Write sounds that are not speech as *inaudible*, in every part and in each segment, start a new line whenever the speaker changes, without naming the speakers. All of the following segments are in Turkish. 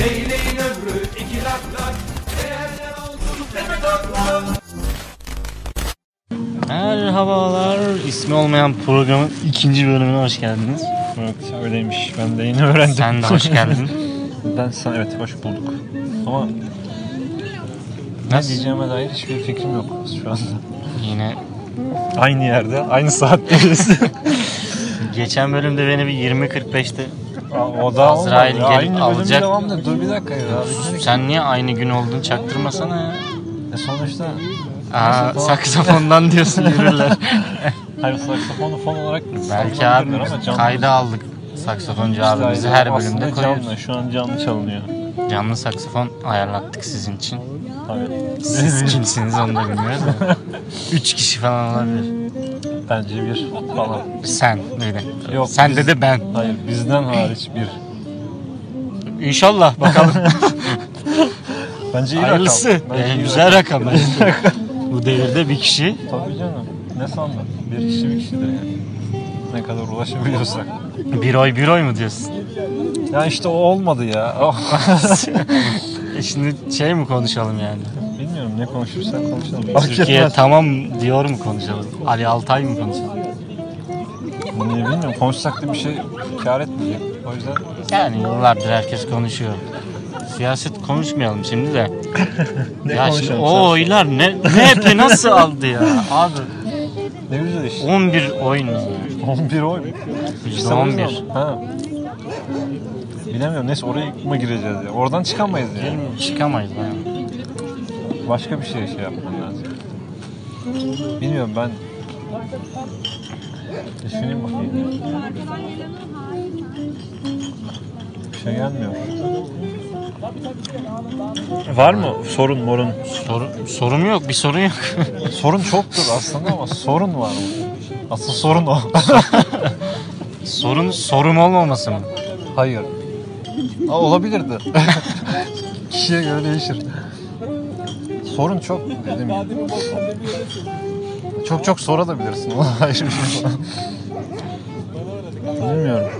Leyleğin ömrü iki lak lak. Değerler olsun tepe taklak.
Merhabalar. ismi olmayan programın ikinci bölümüne hoş geldiniz.
Evet öyleymiş. Ben de yeni öğrendim.
Sen de hoş geldin.
*laughs* Ben sana evet hoş bulduk. Ama ne
Nasıl?
diyeceğime dair hiçbir fikrim yok şu anda.
Yine
Aynı yerde,
*laughs*
aynı saatteyiz.
geçen bölümde beni bir 20.45'te
Aa, o da
Azrail
olmadı.
gelip
Aynı bölüm
alacak.
devam da dur bir dakika ya. Bir dakika.
sen niye aynı gün olduğunu çaktırmasana ya.
E sonuçta
Aa, saksafondan diyorsun
*laughs*
yürürler.
hayır saksafonu fon olarak
Belki
saksafon
abi
derler ama canlı-
kayda aldık. Saksafoncu abimizi
Azrail
her
aslında
bölümde
Canlı,
koyuyoruz.
şu an canlı çalınıyor.
Canlı saksafon ayarlattık sizin için.
Tabii.
Siz kimsiniz onu da bilmiyoruz
*laughs*
da. Üç kişi falan olabilir.
Bence bir falan.
Sen bir de.
Yok,
Sen
biz-
de de ben.
Hayır bizden hariç bir.
İnşallah bakalım.
Bence iyi
Hayırlısı.
rakam. Bence
Ee,
iyi
güzel rakam bence. Bu devirde bir kişi
Tabii canım. Ne sandın? Bir kişi bir kişidir yani. Ne kadar ulaşabiliyorsak.
bir oy bir oy mu diyorsun?
Ya işte o olmadı ya. Oh. *laughs*
E Şimdi şey mi konuşalım yani?
Bilmiyorum ne konuşursan konuşalım. Fark
Türkiye
etmez.
tamam diyor mu konuşalım? Ali Altay mı konuşalım?
Ne bilmiyorum konuşsak da bir şey kar etmeyecek. O yüzden
Yani yıllardır herkes konuşuyor. Siyaset konuşmayalım şimdi de. ya şimdi o oylar ne, MHP nasıl aldı ya? Abi
Ne güzel iş.
11 oy ne? ya?
11 oy.
Yüzde
İşte o yüzden.
11.
Ha. Bilemiyorum neyse oraya mı gireceğiz ya. Oradan çıkamayız yani.
Çıkamayız yani.
Başka bir şey şey yapmam lazım. Bilmiyorum ben düşüneyim bakayım. Bir şey gelmiyor. Var mı sorun morun?
Soru, sorum yok, bir sorun yok. *laughs*
Sorun çoktur aslında ama sorun var. Asıl sorun o. *laughs*
sorun sorum olmaması mı?
Hayır. Aa, olabilirdi. *laughs* Kişiye göre değişir. Sorun çok dedim. Çok çok sorabilirsin. *laughs* Hayır bir şey yok. Bilmiyorum.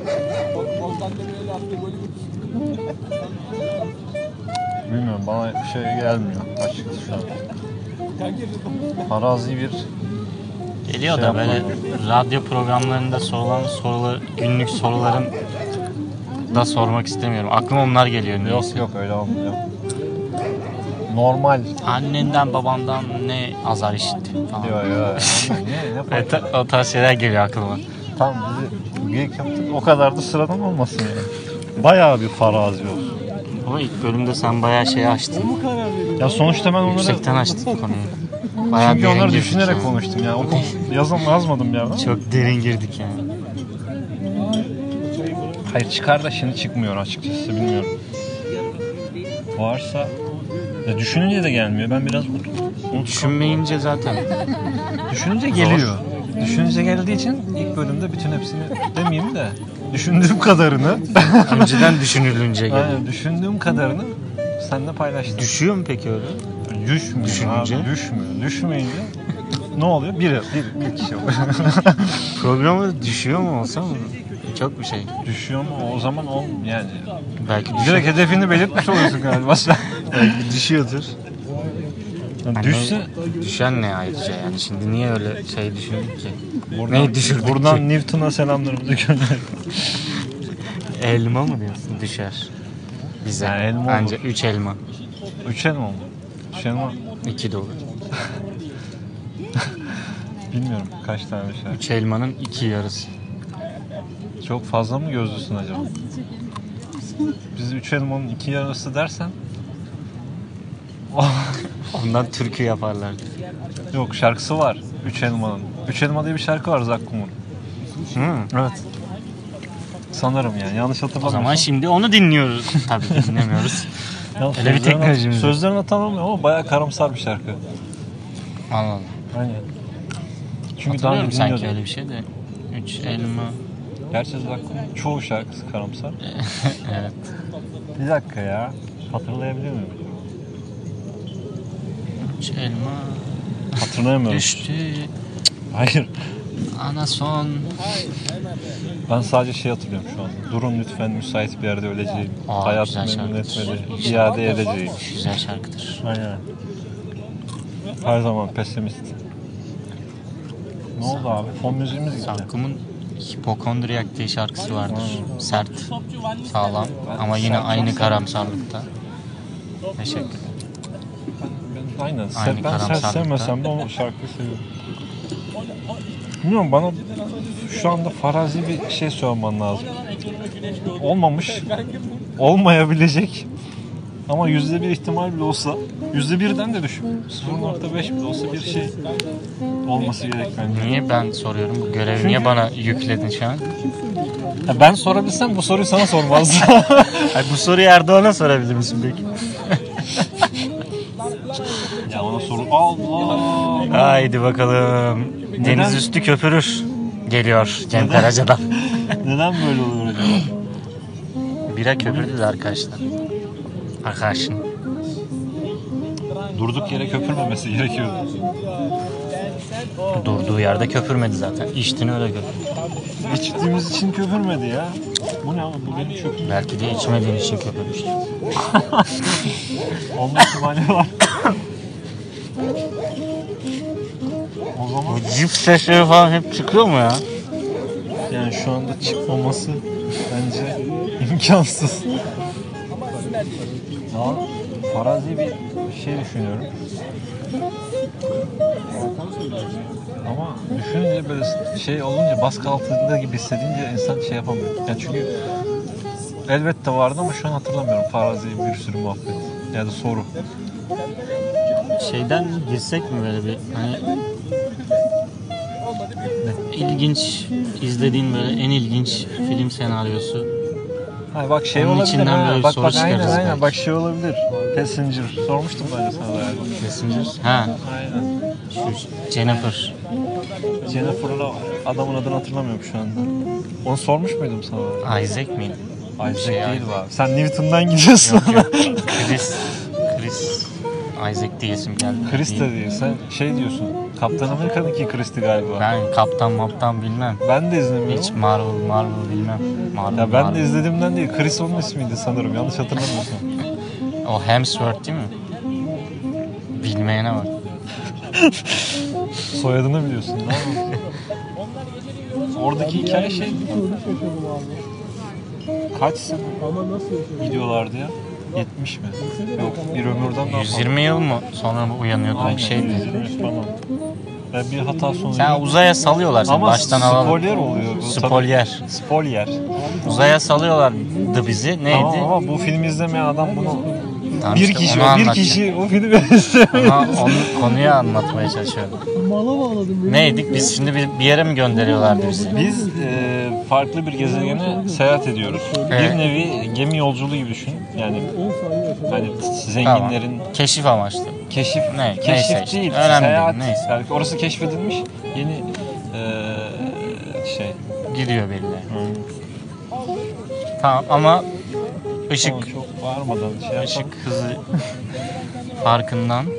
Bilmiyorum bana bir şey gelmiyor açıkçası şu an. Farazi bir
Geliyor
Şey
da böyle
yapmam.
radyo programlarında sorulan sorular, günlük soruların da sormak istemiyorum. Aklıma onlar geliyor.
yok
neyse.
yok öyle olmuyor. Normal
Annenden babandan ne azar işittin falan.
diyor ya. Ne, ne
Ve
fark eder?
ta- o tarz şeyler geliyor aklıma.
Tam bizi geyik yaptık. O kadar da sıradan olmasın yani. Bayağı bir farazi olsun.
Ama ilk bölümde sen bayağı şey açtın.
Ya sonuçta ben onları
Yüksekten açtın konuyu. Bayağı
çünkü
derin
onları
girdik
düşünerek
yani.
konuştum ya. O yazım yazmadım ya.
Çok derin girdik yani.
Hayır çıkar da şimdi çıkmıyor açıkçası bilmiyorum. Varsa ya düşününce de gelmiyor. Ben biraz
Düşünmeyince zaten.
düşününce geliyor. Düşününce geldiği için ilk bölümde bütün hepsini demeyeyim de düşündüğüm *laughs* kadarını
Önceden düşünülünce geliyor.
aynen düşündüğüm kadarını seninle paylaştım.
Düşüyor mu peki öyle?
Düşmüyor
Düşününce.
abi, düşmüyor. Düşmeyince ne oluyor? Biri, bir, bir kişi oluyor.
Programı düşüyor mu olsa mı? Çok bir şey.
*laughs* Düşüyor mu? O zaman o yani.
Belki düşüyor.
Direkt hedefini belirtmiş oluyorsun *laughs* galiba sen.
Belki düşüyordur.
Yani düşse...
Düşen ne ayrıca yani şimdi niye öyle şey düşündük ki?
Buradan,
Neyi düşürdük
buradan
ki?
Newton'a selamlarımızı gönderiyoruz.
Elma mı diyorsun düşer? Bize.
Ha, elma olur.
Anca 3 elma.
Üç elma mı? Üç elma
2 dolar.
bilmiyorum kaç tane bir şey.
3 elmanın 2 yarısı.
Çok fazla mı gözlüsün acaba? Biz üç elmanın iki yarısı dersen...
Ondan türkü yaparlardı.
Yok şarkısı var. Üç elmanın. Üç elma diye bir şarkı var Zakkum'un.
Hı.
Evet. Sanırım yani yanlış
O
hatırlamıyorsam.
zaman şimdi onu
*laughs*
dinliyoruz. Tabii ki dinlemiyoruz.
Yalnız
Öyle bir
sözlerini-
teknolojimiz yok.
Sözlerini hatırlamıyorum ama bayağı karamsar bir şarkı.
Anladım.
Aynen. Çünkü daha
Hatırlıyorum
önce
sanki
dinliyordum.
öyle bir şey de. 3
*laughs*
elma.
Gerçi Zakkum'un çoğu şarkısı karamsar.
evet.
Bir dakika ya. Hatırlayabiliyor muyum?
3 elma
Hatırlayamıyorum.
düştü.
Hayır.
Ana son.
Ben sadece şey hatırlıyorum şu anda. Durun lütfen müsait bir yerde öleceğim.
Aa,
Hayat
güzel
memnun
şarkı.
etmedi. İade edeceğim.
Güzel şarkıdır.
Aynen. Her zaman pesimist. Ne oldu abi? Fon müziğimiz gitti.
Sakkum'un Hipokondriyak diye şarkısı vardır. Sert, sağlam ama yine aynı karamsarlıkta. Teşekkür ederim.
Aynen.
Aynı
ben sen
karamsarlıkta.
sevmesem de o şarkıyı seviyorum. Bilmiyorum bana şu anda farazi bir şey söylemen lazım. Olmamış, olmayabilecek ama yüzde bir ihtimal bile olsa, yüzde birden de düşün. 0.5 bile olsa bir şey olması gerek bence.
Niye ben soruyorum? Bu görevi niye bana yükledin şu an?
Ya ben sorabilsem bu soruyu
*laughs*
sana sormazdım.
bu soruyu Erdoğan'a sorabilir misin peki?
ya ona soru Allah.
Haydi bakalım. Deniz üstü köpürür. Geliyor Cem Karaca'dan.
Neden böyle oluyor acaba?
*laughs* Bira köpürdü de arkadaşlar. Arkadaşın.
Durduk yere köpürmemesi gerekiyordu.
Durduğu yerde köpürmedi zaten. İçtiğini öyle köpürdü.
İçtiğimiz için köpürmedi ya. Bu ne abi? Bu benim çöpüm.
Belki de içmediğin için köpürmüştür.
Olma ihtimali var. o zaman
Cip sesleri falan hep çıkıyor mu ya?
yani şu anda çıkmaması bence imkansız. Daha farazi bir şey düşünüyorum. Ama düşününce böyle şey olunca baskı altında gibi hissedince insan şey yapamıyor. Yani çünkü elbette vardı ama şu an hatırlamıyorum farazi bir sürü muhabbet. Yani soru.
Şeyden girsek mi böyle bir hani ilginç izlediğin böyle en ilginç film senaryosu.
Ha bak şey
Onun
olabilir
içinden
ha.
böyle bir
bak,
soru
bak, aynen,
çıkarırız
aynen.
belki.
Bak şey olabilir. Passenger. Sormuştum ben de sana galiba.
Passenger. Ha,
Aynen.
şu Jennifer.
Jennifer'la adamın adını hatırlamıyorum şu anda. Onu sormuş muydum sana?
Isaac miydi?
Isaac
Şey,
değil
Isaac.
bu abi. Sen Newton'dan gidiyorsun.
Yok yok.
*laughs*
Chris. Chris. Isaac diyesim geldi.
Chris de değil. Sen şey diyorsun. Kaptan Amerika'daki Chris'ti galiba. Ben,
Ben kaptan maptan bilmem.
de izlemiyorum.
Hiç Marvel Marvel bilmem. Marvel,
Ya ben de
Marvel.
izlediğimden değil. Chris onun ismiydi sanırım. Yanlış hatırlamıyorsam.
O Hemsworth değil mi? Bilmeyene bak.
Soyadını biliyorsun. Ne yapıyorsun? Oradaki hikaye şey değil mi? Kaç sene gidiyorlardı ya? 70 mi? Yok bir ömürden daha
120 yıl mı sonra mı şey uyanıyordun
Aynen,
bir şeydi.
120 falan. Ben bir hata sonucu.
Sen uzaya salıyorlar seni
Ama
baştan alalım.
spoiler oluyor. bu
Spoiler.
tabii. Spoiler.
Uzaya salıyorlardı bizi. Neydi?
Tamam ama bu filmi izlemeyen adam bunu
Tamam
bir
işte
kişi
onu
bir
anlatacağım.
kişi o filmi *laughs* izlemiyor.
Ama onu konuya anlatmaya çalışıyorum.
Mala bağladım.
Neydik? Biz şimdi bir, bir yere mi gönderiyorlardı bizi?
Biz e, farklı bir gezegene seyahat ediyoruz.
Evet.
Bir nevi gemi yolculuğu gibi düşün. Yani
10 saniye yaşadım.
hani
Tamam.
zenginlerin
Keşif amaçlı.
keşif
Ne,
keşif
neyse işte,
değil
önemli değil,
seyahat
neyse.
Yani orası keşfedilmiş yeni e, şey
Gidiyor belli. Tamam ama ışık
Ama çok bağırmadan şey yapalım.
ışık hızı farkından mı?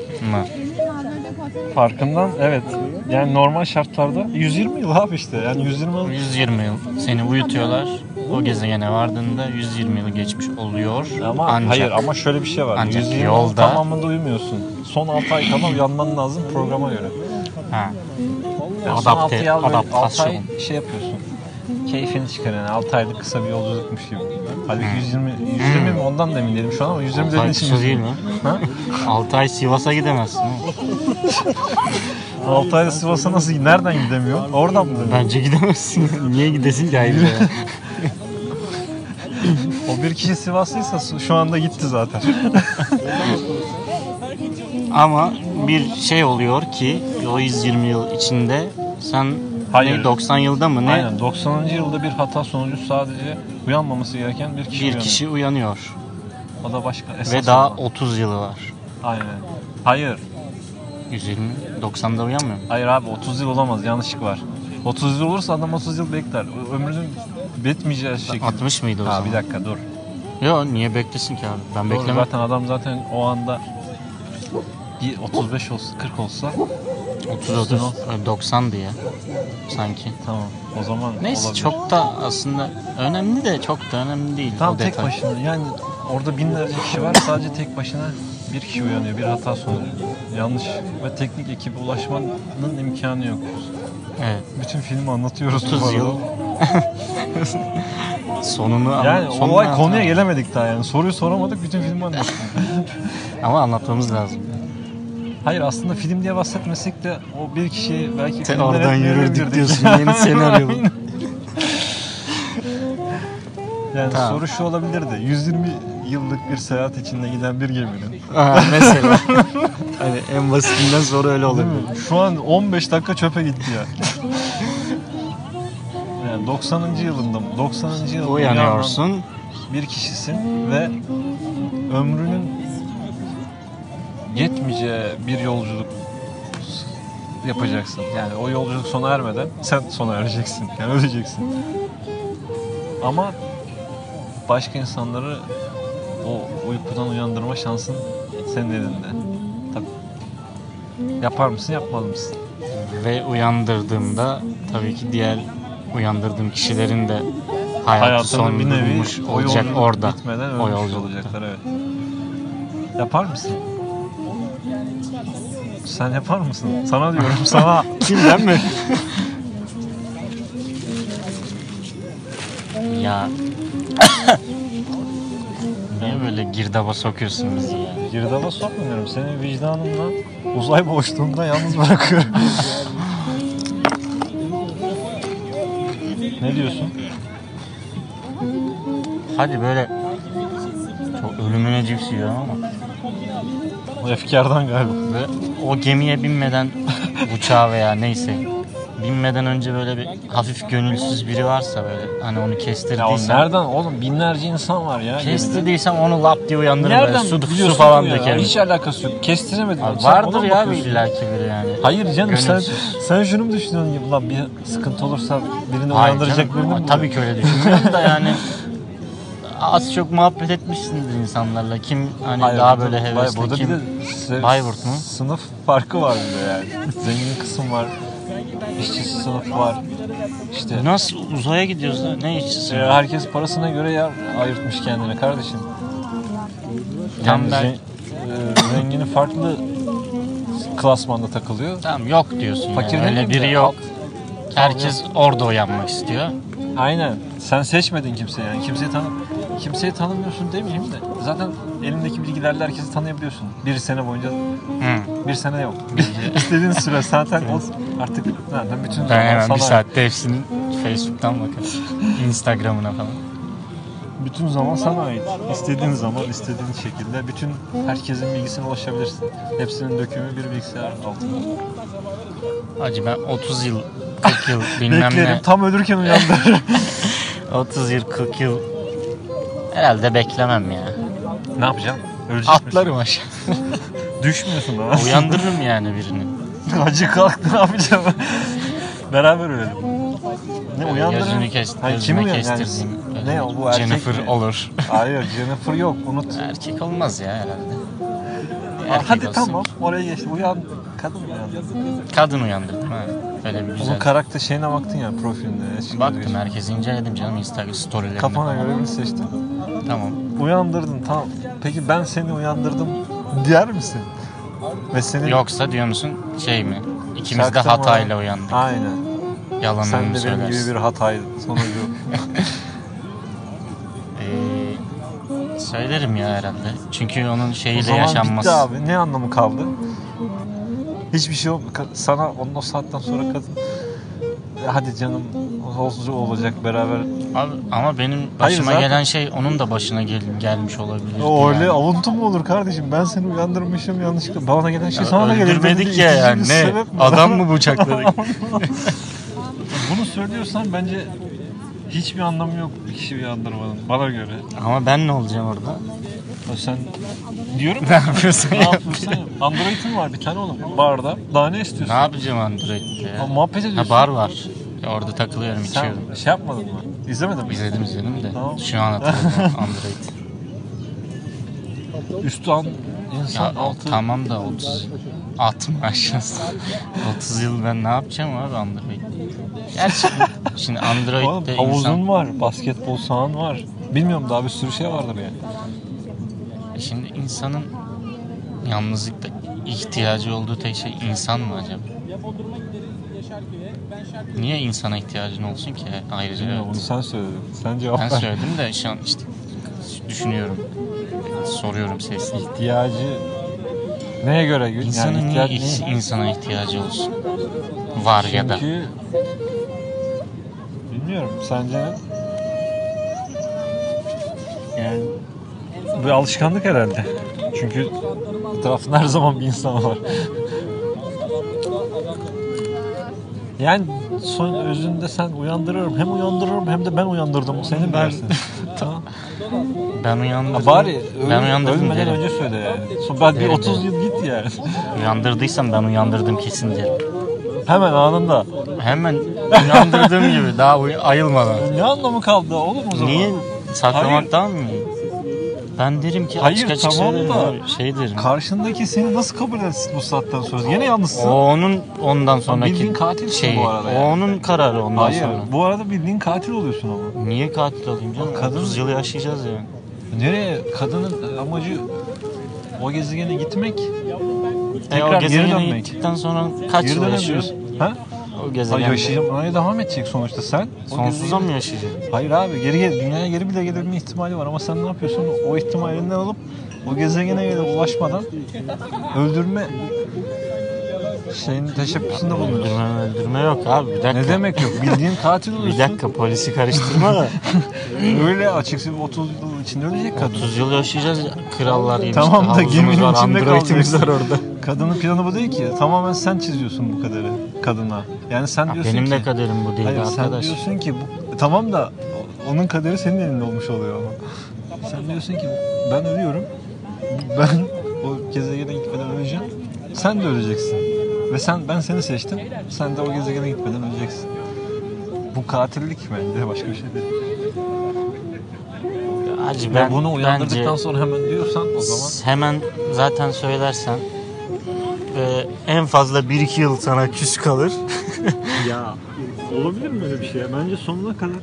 farkından evet yani normal şartlarda 120 yıl abi işte yani 120 yıl
120 yıl seni uyutuyorlar. O gezegene vardığında 120 yıl geçmiş oluyor.
ama
ancak
hayır ama şöyle bir şey var.
Ancak
120 yıl
yolda-
tamamında uyumuyorsun. Son 6 ay kadar uyanman lazım programa göre.
Ha,
Yani son
Adapte-
altı ay- altı
adaptasyon.
ay şey yapıyorsun. Keyfini çıkar yani 6 aylık kısa bir yolculukmuş gibi. Halbuki 120, 120 mi ondan da emin değilim şu an ama 120
Hmm. altı ay
dediğin için
kısa değil mi?
120. Ha?
6 ay Sivas'a gidemezsin. ha.
6 ayda Sivas'a nasıl nereden gidemiyor? Oradan mı? dönüyor?
Bence gidemezsin. *laughs* Niye gidesin ki ayrıca? ya?
O bir kişi Sivaslıysa şu anda gitti zaten.
Ama bir şey oluyor ki o 120 yıl içinde sen
Hayır.
ne, 90 yılda mı ne
Aynen 90. yılda bir hata sonucu sadece uyanmaması gereken bir kişi
bir
uyanıyor.
kişi uyanıyor
O da başka esas
ve daha
olan.
30 yılı var.
Aynen. Hayır.
120 90'da uyanmıyor mu?
Hayır abi 30 yıl olamaz yanlışlık var. 30 yıl olursa adam 30 yıl bekler. Ö- Ömrünün bitmeyeceği şekilde.
60 mıydı o
Ha
zaman?
bir dakika dur.
Yok niye beklesin ki abi? Ben
Doğru,
beklemem.
zaten adam zaten o anda bir 35 olsa 40 olsa
30 30 90'dı ya E, sanki.
Tamam. O zaman
Neyse
olabilir.
çok da aslında önemli de çok da önemli değil
Tam
o
tek
detay.
başına yani orada binlerce kişi var sadece tek başına bir kişi uyanıyor bir hata sonucu. Yanlış ve teknik ekibe ulaşmanın imkanı yok.
Evet.
Bütün filmi anlatıyoruz bu
30
arada.
yıl. *laughs* Sonunu an-
Yani
sonunu
olay konuya
anlatamadık.
gelemedik daha yani. Soruyu soramadık bütün filmi anlattık. *laughs*
Ama anlatmamız lazım.
Hayır aslında film diye bahsetmesek de o bir kişi belki
Sen
filmden
oradan
etkilenebilirdik.
yürürdük diyorsun. Yeni senaryo bu.
Aynen. *laughs* Yani
Tamam.
soru şu olabilirdi. 120 yıllık bir seyahat içinde giden bir geminin
Ha, mesela. hani en basitinden sonra öyle olur.
Değil mi? Şu an 15 dakika çöpe gitti ya.
*laughs*
yani 90. yılında 90. yılında uyanan
Uyanıyorsun.
bir kişisin ve ömrünün yetmeyeceği bir yolculuk yapacaksın. Yani o yolculuk sona ermeden sen sona ereceksin. Yani öleceksin. Ama başka insanları o uykudan uyandırma şansın senin elinde. Tabii. Yapar mısın, yapmaz mısın?
Ve uyandırdığımda tabii ki diğer uyandırdığım kişilerin de hayatı
hayatının
son
bir nevi
bulmuş
o
olacak
yolculuk
orada.
bitmeden
o
ölmüş
yolculukta.
olacaklar evet. Yapar mısın? Sen yapar mısın?
*laughs*
Sana diyorum sana.
Kimden mi? ya Niye böyle girdaba sokuyorsun bizi ya?
Girdaba sokmuyorum. Seni vicdanımla uzay boşluğunda yalnız bırakıyorum. ne diyorsun?
Hadi böyle çok ölümüne cips yiyor ama
Bu efkardan galiba.
ve o gemiye binmeden *laughs* uçağa veya neyse binmeden önce böyle bir hafif gönülsüz biri varsa böyle hani onu
Ya o
kestirdiysem
nereden oğlum binlerce insan var ya. gemide.
kestirdiysem onu lap diye uyandırırım böyle
Nereden
su, su
biliyorsun
falan
bu ya?
dökerim.
Hiç alakası yok. Kestiremedim.
Abi
Sen ona
Vardır
mı
ya
bakıyorsun?
illaki biri yani.
Hayır canım sen,
Gönülsüz.
sen şunu mu düşünüyorsun ya ulan bir sıkıntı olursa birini
Hayır
uyandıracak
canım,
birini mi?
Tabii ki öyle düşünmüyorum da yani az çok muhabbet etmişsindir insanlarla. Kim hani
Hayır,
daha
burada-
böyle
hayır,
hevesli
Burada
kim?
bir de se-
Bayburt mu?
sınıf farkı var bir de yani. Zengin kısım var. işçisi sınıfı var. İşte
Nasıl uzaya gidiyoruz lan? Ne işçisi?
e,
Ya,
herkes parasına göre yer ayırtmış kendine kardeşim.
Tam ben-
zen- e, zengini farklı klasmanda takılıyor.
Tamam yok diyorsun
Fakir
yani.
dedim
Öyle
de,
biri yok. Herkes orada uyanmak istiyor.
Aynen. Sen seçmedin kimseyi yani. Kimseyi tanı kimseyi tanımıyorsun demeyeyim de. Zaten elindeki bilgilerle herkesi tanıyabiliyorsun. Bir sene boyunca
Hı.
bir sene yok. *laughs* İstediğin süre zaten o artık zaten bütün
Ben
zamanı
hemen
sana
bir saatte hepsini Facebook'tan bakarım. Instagram'ına falan.
bütün zaman sana ait. İstediğin zaman, istediğin şekilde bütün herkesin bilgisine ulaşabilirsin. Hepsinin dökümü bir bilgisayar altında.
Acaba 30 yıl, 40 *laughs* yıl bilmem
Beklerim
ne.
tam ölürken uyandı.
30 yıl, 40 yıl herhalde beklemem ya.
ne yapacağım? Ölecek
Atlarım aşağı.
misin? Düşmüyorsun daha.
*laughs* Uyandırırım yani birini.
*laughs* Acı kalk ne yapacağım? *laughs* Beraber ölelim. Ne uyandırır?
Gözünü kes,
Hayır,
gözüme
uyan-
kestirdim.
Yani, ne o bu erkek
Jennifer *laughs*
mi?
olur.
*laughs* Hayır Jennifer yok unut.
Erkek olmaz ya herhalde. Erkek
Hadi
olsun.
tamam oraya geç uyan. Kadın uyan.
Kadın uyandırdım ha. Böyle bir
Bu
güzel.
karakter şeyine baktın ya profiline. eski
Baktım
gözüyle.
herkesi inceledim canım Instagram storylerine.
Kafana
falan.
göre birini seçtin.
Tamam.
Uyandırdın tamam. Peki ben seni uyandırdım der misin? Ve senin
Yoksa diyor musun şey mi? İkimiz de
şarkı
hatayla
mı?
uyandık.
Aynen. Sen
Yalanını
de benim
söylersin.
gibi bir hataydı
*laughs*
sonucu.
Ee, söylerim ya herhalde. Çünkü onun
O
şeyiyle
zaman
yaşanmaz.
bitti abi. Ne anlamı kaldı? Hiçbir şey yok. Ka- Sana onun o saatten sonra kadın "E, hadi canım olsun olacak beraber.
Abi, ama benim
Hayır,
başıma
zaten-
gelen şey onun da başına gel- gelmiş olabilir.
O öyle avuntu mu olur kardeşim? Ben seni uyandırmışım yanlışlıkla. Bana gelen şey sana da gelir.
Öldürmedik ya yani. Ne? *laughs* Adam mı bıçakladık?
*laughs* Bunu söylüyorsan bence hiçbir anlamı yok bir kişi uyandırmanın bana göre.
Ama ben ne olacağım orada?
O sen diyorum
Ne yapıyorsun *laughs*
ne
ya?
yapıyorsun? Android'in var bir tane oğlum barda. Daha ne
Ne
istiyorsun?
yapacağım Android'de
Ha,
ya?
muhabbet ediyorsun.
Ha bar var. Ya orada takılıyorum,
Sen
içiyorum.
şey yapmadın mı? İzlemedin mi?
İzledim izledim de.
*laughs* Tamam.
Şu an hatırladım Android.
Üstü an
Ya,
insan altı.
tamam da 30 atma aşağısı. *laughs* 30 yıl ben ne yapacağım abi Android? Gerçi şimdi
Oğlum,
Android'de
havuzun
insan
var, basketbol sahan var. Bilmiyorum daha bir sürü şey vardır yani.
şimdi insanın yalnızlıkta ihtiyacı olduğu tek şey insan mı acaba? Niye insana ihtiyacın olsun ki ayrıca?
Bilmiyorum, Bunu sen söyledin. Sen cevap
Ben
ver.
söyledim de şu an işte düşünüyorum. Soruyorum sesli.
İhtiyacı neye göre? Yani
İnsanın niye
ihtiyaç
iş-
neye-
insana ihtiyacı olsun? Var ya da.
Çünkü bilmiyorum sence ne? Yani bir alışkanlık herhalde. Çünkü etrafında her zaman bir insan var. Yani son özünde sen uyandırırım. Hem uyandırırım hem de ben uyandırdım.
*laughs*
Seni dersin. tamam.
Ben uyandım.
Ya bari öl-
ben uyandırdım
ölmeden
derim.
önce söyle yani. Son ben bir
Derim,
30
derim.
yıl git yani.
Uyandırdıysam ben uyandırdım kesin derim.
Hemen anında.
Hemen uyandırdığım gibi daha uy- ayılmadan.
Ne anlamı kaldı oğlum o zaman?
Niye saklamaktan mı? Ben derim ki
Hayır,
açık açık
tamam
söylerim
da-
abi, şey derim.
Karşındaki seni nasıl kabul etsin bu saatten sonra? Yine yalnızsın.
o onun ondan sonraki
bildiğin katilsin
şeyi.
bu arada yani.
O onun kararı ondan
Hayır.
sonra.
Bu arada bildiğin katil oluyorsun ama.
Niye katil olayım canım?
Kadın-
30 yıl yaşayacağız E, yani.
Nereye? Kadının amacı o gezegene gitmek.
E,
Tekrar
o
geri
gezegene
dönmek.
gittikten sonra kaç
Geri
yıl yaşıyoruz?
dönemiyorsun. Ha?
O
Hayır
gezegende
yaşayamaya devam edecek sonuçta sen. O
sonsuza
gezegene-
mı yaşayacağız?
Hayır abi geri gel dünyaya geri bile gelebilme ihtimali var ama sen ne yapıyorsun? O ihtimalinden alıp o gezegene bile ulaşmadan öldürme şeyin teşebbüsünde bulunuyorsun.
Öldürme öldürme yok abi bir dakika.
Ne demek yok? Bildiğin katil
Bir
oluyorsun.
dakika polisi karıştırma
*laughs*
da.
Öyle açık 30 yıl içinde ölecek kadın.
30 yıl yaşayacağız krallar yemiş.
Tamam da
Havuzumuz
geminin
var,
içinde
androidimiz
kalacaksın.
var orada.
Kadının planı bu değil ki. Tamamen sen çiziyorsun bu kaderi kadına. Yani sen diyorsun
Benim
ki...
de kaderim bu değil
Hayır sen
arkadaş.
diyorsun ki... Bu, tamam da onun kaderi senin elinde olmuş oluyor ama. Sen diyorsun ki ben ölüyorum. Ben o gezegene gitmeden öleceğim. Sen de öleceksin. Ve sen ben seni seçtim. Sen de o gezegene gitmeden öleceksin. Bu katillik bence *laughs* başka bir şey değil.
Hacı
Ben,
ben
bunu uyandırdıktan
bence
sonra hemen diyorsan o zaman
hemen zaten söylersen e, en fazla 1-2 yıl sana küs kalır. *laughs*
Ya olabilir mi öyle bir şey? ya? Bence sonuna kadar.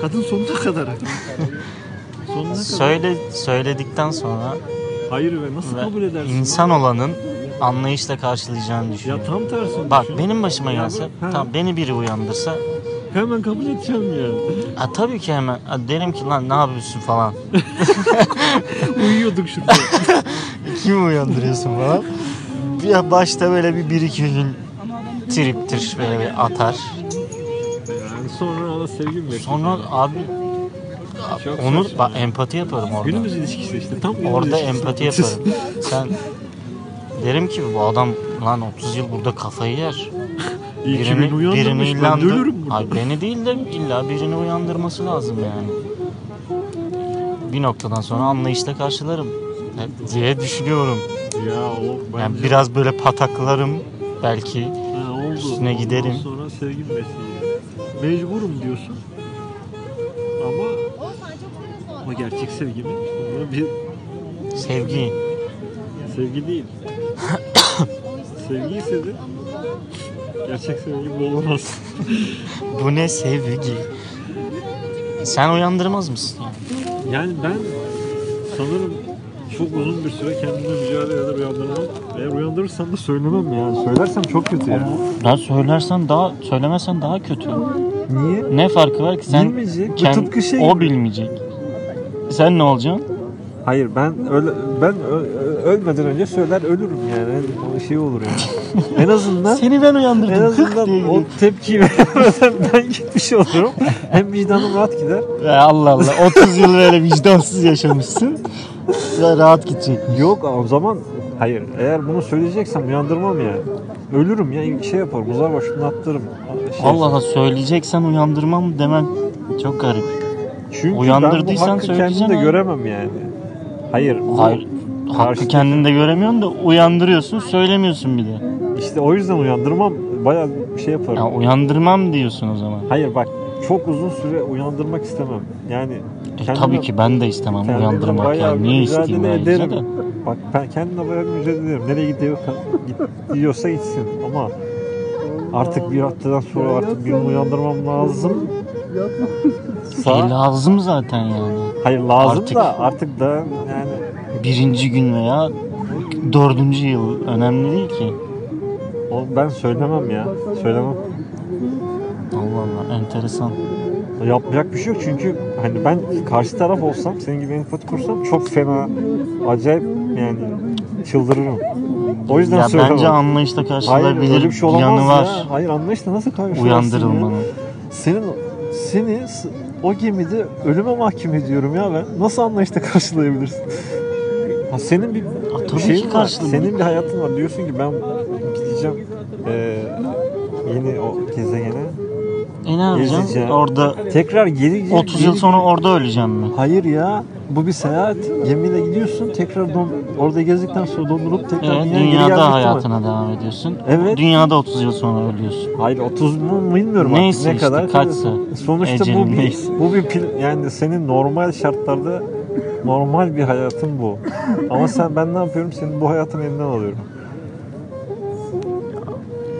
Kadın sonuna kadar. sonuna kadar.
Söyle söyledikten sonra
Hayır ve nasıl
ve
kabul edersin?
insan olanın anlayışla karşılayacağını
Ya
düşünüyorum.
tam tersi.
Bak
düşün.
benim başıma
Ya
gelse,
bu- he.
tam beni biri uyandırsa,
Hemen kabul edeceğim yani.
a, tabii ki hemen "A, derim ki lan ne yapıyorsun falan.
Uyuyorduk şurada.
Kim uyandırıyorsun falan. Ya başta böyle bir, bir iki gün triptir böyle bir atar.
yani sonra ona sevgi mi bekliyor?
Sonra abi onu bak empati yaparım orada.
Günümüz ilişkisi işte. Tam günümüz
Orada
ilişkisi.
empati yaparım. Sen derim ki bu adam lan 30 yıl burada kafayı yer.
İyi ki beni uyandırmış. Ben de
illandı-
ölürüm burada.
Hayır, beni değil de illa birini uyandırması lazım yani. Bir noktadan sonra anlayışla karşılarım e, diye düşünüyorum.
Ya o bence.
Yani biraz böyle pataklarım belki.
Ha, oldu.
üstüne
Ondan
giderim.
sonra sevgi mi bekliyor? Mecburum diyorsun. Ama ama gerçek sevgi mi? Bunu bir
Sevgi.
Sevgi değil. sevgi ise de gerçek sevgi bu olamaz.
Bu ne sevgi? Sen uyandırmaz mısın? yani?
Yani ben sanırım çok uzun bir süre kendimle mücadele eder uyandırmam. Eğer uyandırırsam da söylemem yani. Söylersem çok kötü ya.
Daha söylersen daha söylemesen daha kötü.
Niye?
Ne farkı var ki sen
Bilmeyecek,
kend-
bu tıpkı şey
o
gibi.
bilmeyecek. Sen ne olacaksın?
Hayır ben öyle ben ö- ö- ölmeden önce söyler ölürüm yani. O şey olur yani. *laughs* en azından
Seni ben uyandırdım.
en azından o tepkiyi *laughs* vermeden ben gitmiş olurum. Hem vicdanım rahat gider.
Allah Allah 30 yıl böyle vicdansız yaşamışsın. Sen rahat gidecek.
Yok o zaman hayır eğer bunu söyleyeceksem uyandırmam ya. Ölürüm ya şey yaparım uzar başımdan atlarım. Şey
Allah Allah söyleyeceksen uyandırmam demen çok garip.
Çünkü
uyandırdıysan
ben bu hakkı
söyleyeceksin
kendim de
abi.
göremem yani. Hayır, bu-
Hayır. Hakkı
Karşı-
kendinde göremiyorsun da uyandırıyorsun söylemiyorsun bir de.
işte o yüzden uyandırmam bayağı bir şey yaparım.
Ya uyandırmam diyorsun o zaman.
Hayır bak çok uzun süre uyandırmak istemem. Yani
E, tabii ki ben de istemem
kendimle
uyandırmak
bayağı
yani. Niye
mücadele
isteyeyim ayrıca
ederim.
da.
Bak ben kendime bayağı bir mücadele ederim. Nereye gidiyorsa, gidiyorsa gitsin. Ama artık bir haftadan sonra artık birini uyandırmam lazım.
Yatma.
E,
Sa-
lazım zaten yani.
Hayır lazım
Artık-
da artık da yani
Birinci gün veya dördüncü yıl önemli değil ki.
o- ben söylemem ya. Söylemem.
Allah Allah enteresan.
Yapacak bir şey yok çünkü hani ben karşı taraf olsam, senin gibi empati kursam çok fena, acayip yani çıldırırım. O yüzden
Ya
söylemem.
bence anlayışla
Hayır öyle
karşılanabilir
bir şey
bir
olamaz
yanı
ya.
var.
Hayır anlayışla nasıl karşılarsın ya?
Uyandırılmanın.
Senin, seni s- o gemide ölüme mahkum ediyorum ya ben. Nasıl anlayışla karşılayabilirsin? Ha, senin bir, bir
tabii
şeyin
ki
var.
karşılayayım.
Senin bir hayatın var. Diyorsun ki ben gideceğim eee, yeni o gezegene.
E ne
Gezeceğim.
yapacaksın? Orada
Tekrar geri
30 yıl
geri-
sonra orada öleceğim mi?
Hayır ya. Bu bir seyahat. Gemiyle gidiyorsun. Tekrar don, orada gezdikten sonra dondurup tekrar
Evet,
dünyaya geri gelmek
E, dünyada
demek.
hayatına devam ediyorsun.
şey Evet.
Dünyada 30 yıl sonra ölüyorsun.
Hayır 30 mu bilmiyorum
Neyse
artık ne
işte,
kadar.
kaçsa.
Sonuçta bu
Ecelin
bir,
neyse.
bu bir pil, yani senin normal şartlarda normal bir hayatın bu. Ama sen ben ne yapıyorum? Senin bu hayatın elinden alıyorum.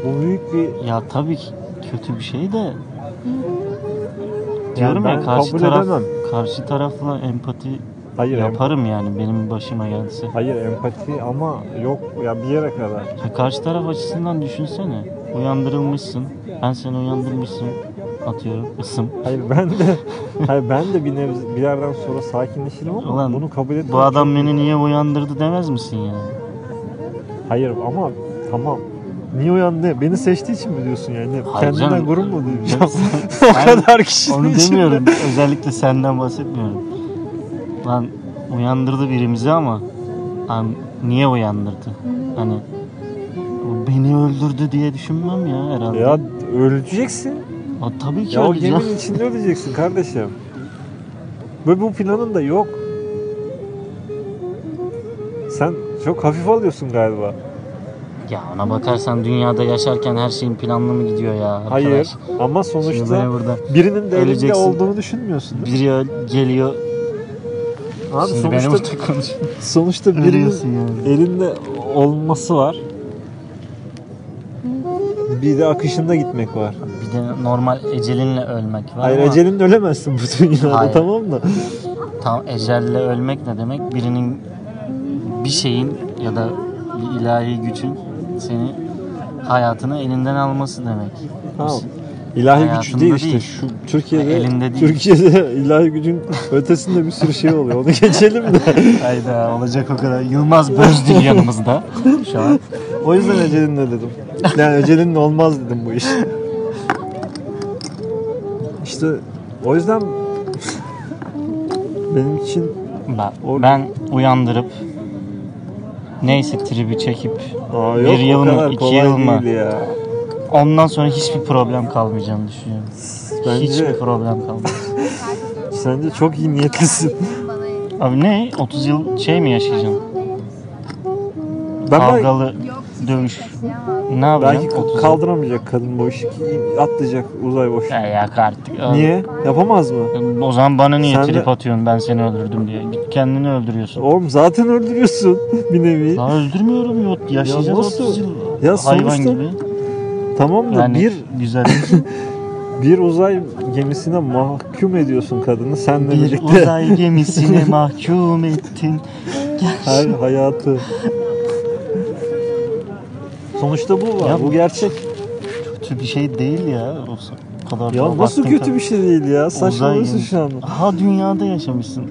Bu büyük bir
Ya tabii ki kötü bir şey de diyorum
ben
ya karşı
kabul
taraf
edemem.
karşı tarafla empati
hayır em-
yaparım yani benim başıma gelse.
hayır empati ama yok ya bir yere kadar.
Ya karşı taraf açısından düşünsene. Uyandırılmışsın. Ben seni uyandırmışsın. Atıyorum ısım.
Hayır ben de hayır ben de bir nebze, bir yerden sonra sakinleşirim ama
Ulan,
bunu kabul etmem.
Bu adam beni niye uyandırdı demez misin yani?
Hayır ama tamam. Niye uyandı? Beni seçtiği için mi diyorsun yani?
Hayır
Kendinden
canım.
gurur mu duyacağım? *laughs* o
Ben
kadar kişinin
Onu
içinde.
demiyorum. Özellikle senden bahsetmiyorum. Lan uyandırdı birimizi ama lan niye uyandırdı? Hani "O beni öldürdü diye düşünmem ya herhalde.
Ya öleceksin.
O tabii ki
Ya o
öleceğim.
geminin içinde öleceksin kardeşim. Böyle bu planın da yok. Sen çok hafif alıyorsun galiba.
Ya ona bakarsan dünyada yaşarken her şeyin planlı mı gidiyor ya? Arkadaş?
Hayır ama
Şimdi
sonuçta
beni burada
birinin de elinde
Öleceksin.
olduğunu düşünmüyorsun. değil mi?
biri ö- geliyor.
Abi
Şimdi beni
sonuçta,
burada konuş.
sonuçta birinin
Ölüyorsun yani.
elinde olması var. Bir de akışında gitmek var.
Bir de normal ecelinle ölmek var
Hayır
ama
ecelin ölemezsin bu dünyada
Hayır.
tamam mı?
tam ecelle ölmek ne demek? Birinin bir şeyin ya da bir ilahi gücün seni hayatını elinden alması demek.
Tamam. İlahi güç
Hayatında
değil işte
değil.
şu Türkiye'de
Elinde değil.
Türkiye'de *laughs* ilahi gücün ötesinde bir sürü şey oluyor. Onu
*laughs*
geçelim de.
Hayda olacak o kadar. Yılmaz Bözdil yanımızda *laughs* şu an.
O yüzden ecelinle dedim. Yani ecelinle olmaz dedim bu iş. İşte o yüzden *laughs* benim için
Ben,
O-
ben uyandırıp neyse tribi çekip
Aa, yok,
Bir yıl
o
mı,
kadar
iki
kolay
yıl mı?
değil ya.
ondan sonra hiçbir problem kalmayacağını düşünüyorum. Hiçbir problem kalmayacak.
Sence çok iyi
*laughs*
niyetlisin.
Abi ne? 30 yıl şey mi yaşayacağım?
Ben belki,
Kavgalı dövüş. Ne
belki
yapacağım? 30 yıl.
kaldıramayacak kadın bu işi. Atlayacak uzay boşluğu.
Ya yak artık.
Niye? Yapamaz mı?
O zaman bana niye
Sen de-
trip atıyorsun ben seni öldürdüm diye. Git kendini öldürüyorsun.
Oğlum zaten öldürüyorsun *laughs* bir nevi.
Daha öldürmüyorum yok. Yaşayacağız
Ya nasıl?
30 yıl.
Ya
Hayvan
sonuçta-
gibi.
Tamam da
Yani
bir
güzel.
*laughs*
şey.
bir uzay gemisine mahkum ediyorsun kadını senle
bir
birlikte
uzay gemisine mahkum ettin.
*laughs* her hayatı. Sonuçta bu var.
Ya
bu
bu-
gerçek.
Kötü bir şey değil ya. O kadar
Ya nasıl kötü bir şey değil ya? Saçmalıyorsun
gemisi.
şu an.
Aha dünyada
*laughs*
yaşamışsın.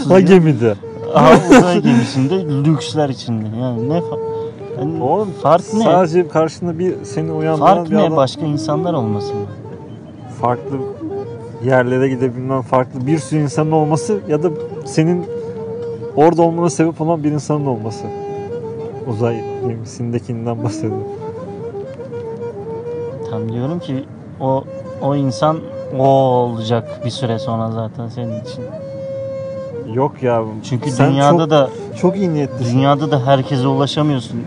30
Ha
yıl.
gemide.
Aha uzay gemisinde lüksler içinde. Yani ne fa- yani
Oğlum
fark ne?
Sadece karşında bir seni uyandıran
fark
bir
ne
adam.
başka insanlar olması mı?
Farklı yerlere gidebilmen, farklı bir sürü insanın olması ya da senin orada olmana sebep olan bir insanın olması. Uzay gemisindekinden bahsediyorum.
Tam diyorum ki o o insan o olacak bir süre sonra zaten senin için.
Yok ya.
Çünkü
sen
dünyada
çok,
da
çok iyi niyetlisin.
dünyada da herkese ulaşamıyorsun.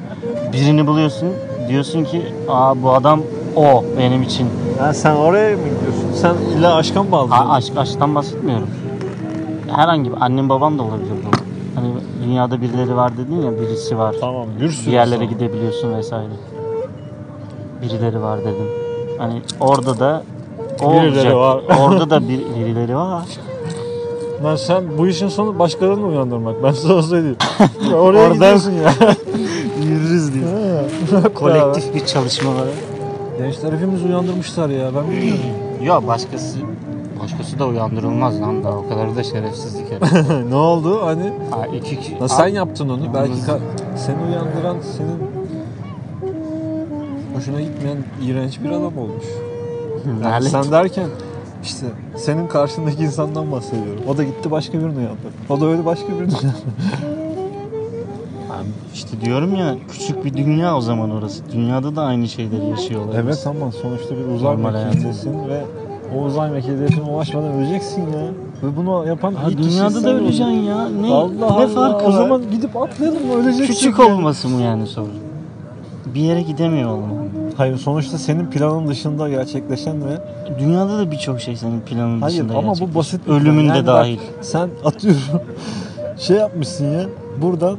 Birini buluyorsun diyorsun ki aa bu adam o benim için.
Ha, sen oraya mı gidiyorsun? Sen illa aşka mı bağlı?
A- aşk aşktan bahsetmiyorum. herhangi bir annem babam da olabilir bu. Hani dünyada birileri var dedin ya birisi var.
Tamam bir sürü
Bir yerlere
insan.
gidebiliyorsun vesaire. Birileri var dedim. Hani orada da o olacak.
Birileri var.
orada da bir, birileri var.
Lan sen bu işin sonu başkalarını uyandırmak. Ben
*laughs*
sana söyleyeyim. Ya Oraya
Oradan- *laughs*
gidiyorsun ya.
Yürürüz diye. *laughs* Kolektif bir çalışma var.
Gençler hepimiz uyandırmışlar ya. Ben bilmiyorum.
*laughs* Yok başkası başkası da uyandırılmaz lan da o kadar da şerefsizlik *laughs* herhalde.
ne oldu? Hani
ha, iki, iki,
lan sen yaptın onu. Belki
Yalnız-
ka- seni uyandıran senin hoşuna gitmeyen iğrenç bir adam olmuş. Yani
Lanet.
sen derken işte senin karşındaki insandan bahsediyorum. O da gitti başka birini uyandı. O da öyle başka birini uyandı.
Abi işte diyorum ya küçük bir dünya o zaman orası. Dünyada da aynı şeyleri yaşıyorlar.
*laughs* evet ama sonuçta bir uzay
Normal hayatım.
mekiğindesin ve o uzay mekiğine ulaşmadan öleceksin ya. Ve bunu yapan
Ha,
ilk kişi
dünyada
sen
da
oldun.
öleceksin ya. Ne,
Allah
ne
Allah.
farkı
O
var?
zaman gidip atlayalım öleceksin.
küçük
ya.
olması mı yani sorun? Bir yere gidemiyor olman.
Hayır sonuçta senin planın dışında gerçekleşen ve
Dünyada da birçok şey senin planın
Hayır
dışında
ama
gerçek.
bu basit bir
Ölümün
plan.
de
bak,
dahil.
sen atıyorum *laughs* şey yapmışsın ya buradan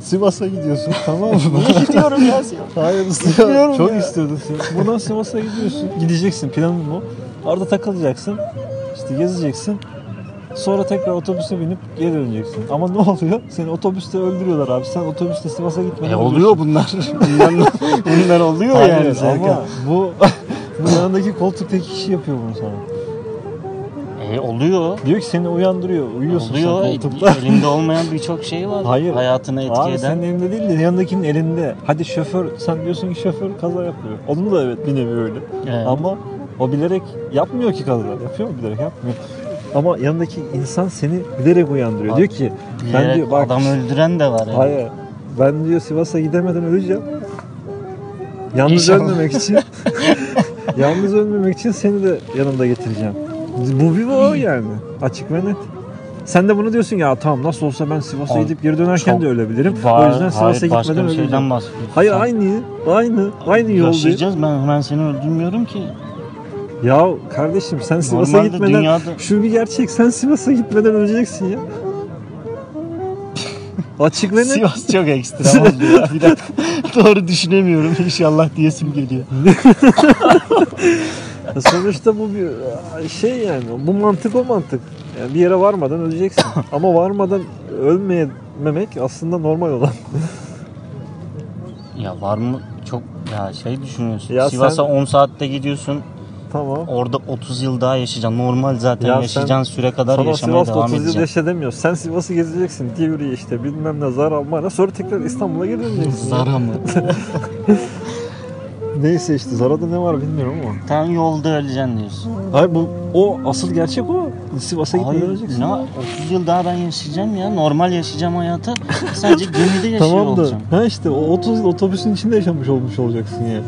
Sivas'a gidiyorsun *laughs* tamam mı?
Niye gidiyorum ya?
Hayır istiyorum.
Gidiyorum
Çok
ya.
istiyordun sen. Buradan Sivas'a gidiyorsun. Gideceksin planın bu. Orada takılacaksın. işte gezeceksin. Sonra tekrar otobüse binip geri döneceksin. Ama ne oluyor? Seni otobüste öldürüyorlar abi. Sen otobüste Sivas'a gitmeden
E
ölüyorsun.
oluyor
*laughs*
bunlar. bunlar, *laughs* bunlar oluyor
Hayır,
yani.
ama
Serkan.
bu, *laughs* bu yanındaki koltuktaki kişi yapıyor bunu sana.
E oluyor.
Diyor ki seni uyandırıyor. Uyuyorsun
Oluyor.
sen koltukta.
Elinde olmayan birçok şey var.
Hayır.
Hayatını etki
*laughs* Abi
eden.
senin elinde değil de yanındakinin elinde. Hadi şoför, sen diyorsun ki şoför kaza yapıyor. Onun da evet bir nevi öyle.
Evet.
Ama o bilerek yapmıyor ki kaza. Yapıyor mu bilerek? Yapmıyor. Ama yanındaki insan seni bilerek uyandırıyor.
Abi,
diyor ki ben
Bilerek
diyor bak
adam öldüren de var. Yani.
hayır ben diyor Sivas'a gidemeden öleceğim. Yalnız
İnşallah.
ölmemek
*laughs*
için yalnız ölmemek için seni de yanımda getireceğim. Bu bir o yani. Açık ve net. Sen de bunu diyorsun ya tamam nasıl olsa ben Sivas'a
Abi,
gidip geri dönerken
çok
de ölebilirim.
Var,
o yüzden
hayır,
Sivas'a
başka
gitmeden
bir
öleceğim.
şeyden bahsediyorum.
Hayır
Sen-
aynı aynı aynı yol değil.
Yaşayacağız ben hemen seni öldürmüyorum ki.
Ya kardeşim sen Sivas'a
Normalde
gitmeden
dünyada-
şu bir gerçek sen Sivas'a gitmeden öleceksin
*laughs*
ya. Açık ve net.
Sivas çok ekstrem oldu ya. Bir
*laughs*
dakika. Doğru düşünemiyorum inşallah diyesim geliyor.
Sonuçta bu bir şey yani bu mantık o mantık. Yani bir yere
*laughs*
varmadan öleceksin. Ama varmadan ölmemek aslında normal olan. *laughs*
Ya var mı çok ya şey düşünüyorsun.
Ya
Sivas'a
sen-
10 saatte gidiyorsun.
tamam.
Orada 30 yıl daha yaşayacaksın. Normal zaten
Ya sen-
yaşayacağın süre kadar
Sana
yaşamaya
Sivas'ta
devam
30 yıl
edeceksin.
yaşa demiyor. Sen Sivas'ı gezeceksin. Divriği işte bilmem ne Zara Mara. Sonra tekrar İstanbul'a geri
*laughs*
döneceksin.
Zara mı?
Neyse işte Zara'da ne var bilmiyorum ama.
Tam yolda öleceksin diyorsun.
Hayır bu o asıl gerçek o. Sivas'a gitmeden
Hayır,
öleceksin.
ne, 30 yıl daha ben yaşayacağım ya. Normal yaşayacağım
*laughs*
hayatı. Sadece gemide yaşıyor
Tamam
Şey
da
olacağım.
ha işte o 30 yıl otobüsün içinde yaşamış olmuş olacaksın ya.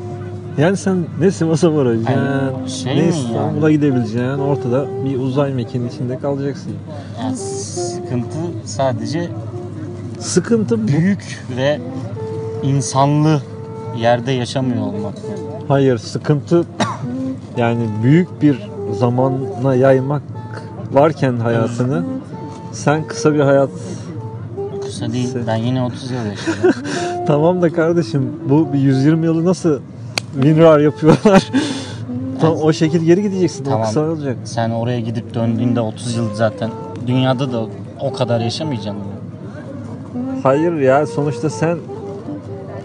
Yani sen ne Sivas'a varacaksın,
Yani şey
ne
mi
İstanbul'a gidebileceksin, ortada bir uzay mekiğinin içinde kalacaksın.
Yani sıkıntı sadece
Sıkıntı bu.
büyük ve insanlı yerde yaşamıyor olmak.
Hayır, sıkıntı yani büyük bir zamana yaymak varken hayatını sen kısa bir hayat
Kısa değil.
Se-
Ben yine 30 yıl yaşayacağım.
tamam da kardeşim bu bir 120 yılı nasıl winrar yapıyorlar? *laughs* Tam o şekil geri gideceksin.
Tamam.
O kısa olacak.
Sen oraya gidip döndüğünde 30 yıl zaten dünyada da o kadar yaşamayacaksın.
Hayır ya sonuçta sen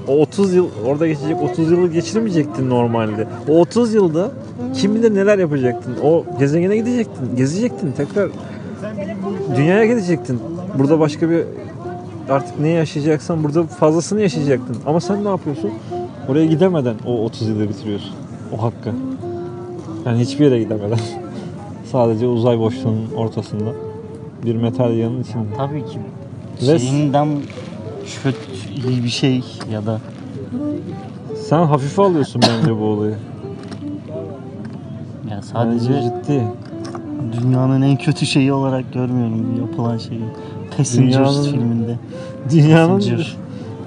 o 30 yıl orada geçecek 30 yılı geçirmeyecektin normalde. O 30 yılda kim bilir neler yapacaktın. O gezegene gidecektin, gezecektin tekrar dünyaya gidecektin. Burada başka bir artık ne yaşayacaksan burada fazlasını yaşayacaktın. Ama sen ne yapıyorsun? Oraya gidemeden o 30 yılı bitiriyorsun. O hakkı. Yani hiçbir yere gidemeden. *laughs* Sadece uzay boşluğunun ortasında bir metal yanın içinde.
Tabii ki.
Ve-
Şeyinden kötü iyi bir şey ya da
Sen hafife alıyorsun bence bu olayı.
ya sadece
Bence ciddi.
dünyanın en kötü şeyi olarak görmüyorum bu yapılan şeyi. Passengers
Dünyanın-
filminde.
Dünyanın
Zincir.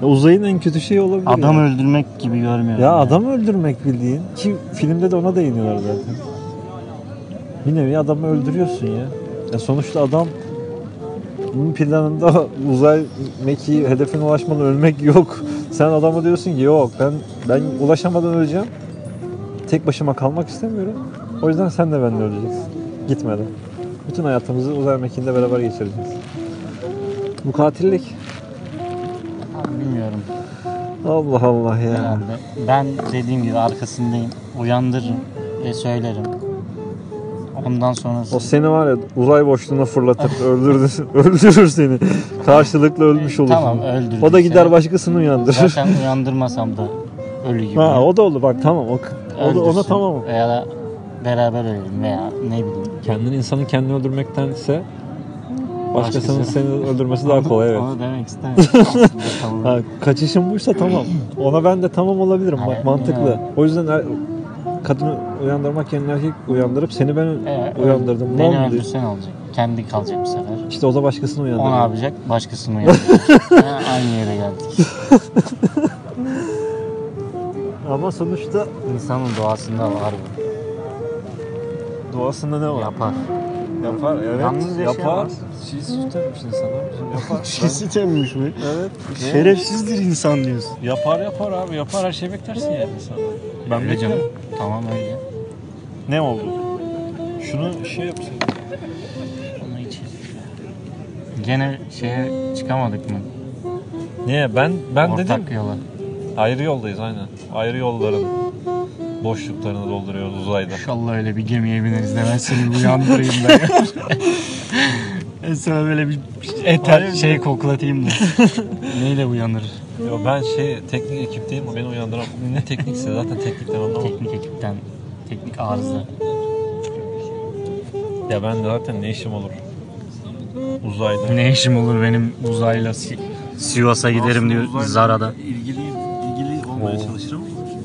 uzayın en kötü şeyi olabilir.
Adam
ya.
öldürmek gibi görmüyorum.
ya adam öldürmek bildiğin ki filmde de ona değiniyorlar zaten. Bir nevi adamı öldürüyorsun ya. ya sonuçta adam Bunun planında *laughs* uzay mekiği hedefine ulaşmadan ölmek yok. Sen adama diyorsun ki yok ben ben ulaşamadan öleceğim. Tek başıma kalmak istemiyorum. O yüzden sen de benimle öleceksin. Gitmeden. Bütün hayatımızı uzay mekiğinde beraber geçireceğiz. Bu katillik.
Abi bilmiyorum.
Allah Allah ya.
Herhalde. Ben dediğim gibi arkasındayım. Uyandırırım ve söylerim. Ondan sonrası
O seni var ya uzay boşluğuna fırlatır, öldürür, *laughs* öldürür seni. Karşılıklı ölmüş olursun.
Tamam, öldürdü
O da gider
seni.
başkasını uyandırır.
zaten uyandırmasam da ölü gibi.
*laughs* Ha o da olur bak tamam o, o da, ona
Öldürsün.
tamam.
Veya da beraber ölelim veya ne bileyim.
Kendini insanın kendini öldürmektense başkasının
Başkası.
seni öldürmesi daha kolay evet.
Onu demek
*laughs*
istemiyorum. Tamam.
Ha, kaçışın buysa tamam. Ona ben de tamam olabilirim bak
Evet,
mantıklı.
evet.
O yüzden er- kadını uyandırmak yerine erkek uyandırıp seni ben
Ee,
uyandırdım. Ne
Beni
oldu?
öldürsen olacak. Kendi kalacak bu sefer.
İşte o da başkasını
Onu
uyandırıyor.
yapacak, başkasını *laughs* yapacak. Ha, Aynı yere geldik.
Ama sonuçta
İnsanın doğasında var bu.
doğasında ne var?
Yapar.
Yapar evet.
Yalnız
yapar.
yaşayamaz.
Çiğ süt demiş insana. Yapar.
temmiş mi?
Evet.
Ee? Şerefsizdir insan diyorsun.
Yapar yapar abi yapar her şey beklersin yani sen.
Ben öyle canım. Tamam öyle.
Ne oldu?
Şunu şey yapsın.
Onu içelim. Gene şeye çıkamadık mı?
Niye ben ben
Ortak
dedim
yola.
ayrı yoldayız aynen. Ayrı yolların boşluklarını dolduruyoruz uzayda.
İnşallah öyle bir gemiye bineriz de ben seni uyandırayım *laughs* da. Ben Sana böyle bir eter
Hayır.
şey koklatayım da. *laughs* Neyle uyanır?
Yo, ben şey teknik ekipteyim o beni uyandıran ne teknikse zaten teknikten anlamam.
Teknik ekipten, teknik arıza.
Ya ben de zaten ne işim olur uzayda.
Ne işim olur benim uzayla Si- Sivas'a giderim diyor Zara'da.
İlgili ilgili olmaya
Oo.
çalışırım.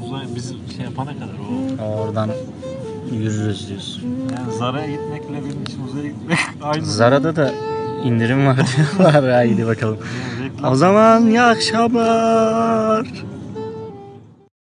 Uzay bizi şey yapana kadar o.
Oradan yürürüz diyorsun.
Yani Zara'ya gitmekle benim için uzaya gitmek *laughs* aynı.
Zara'da da *laughs* indirim var diyorlar. Haydi bakalım. O zaman iyi akşamlar.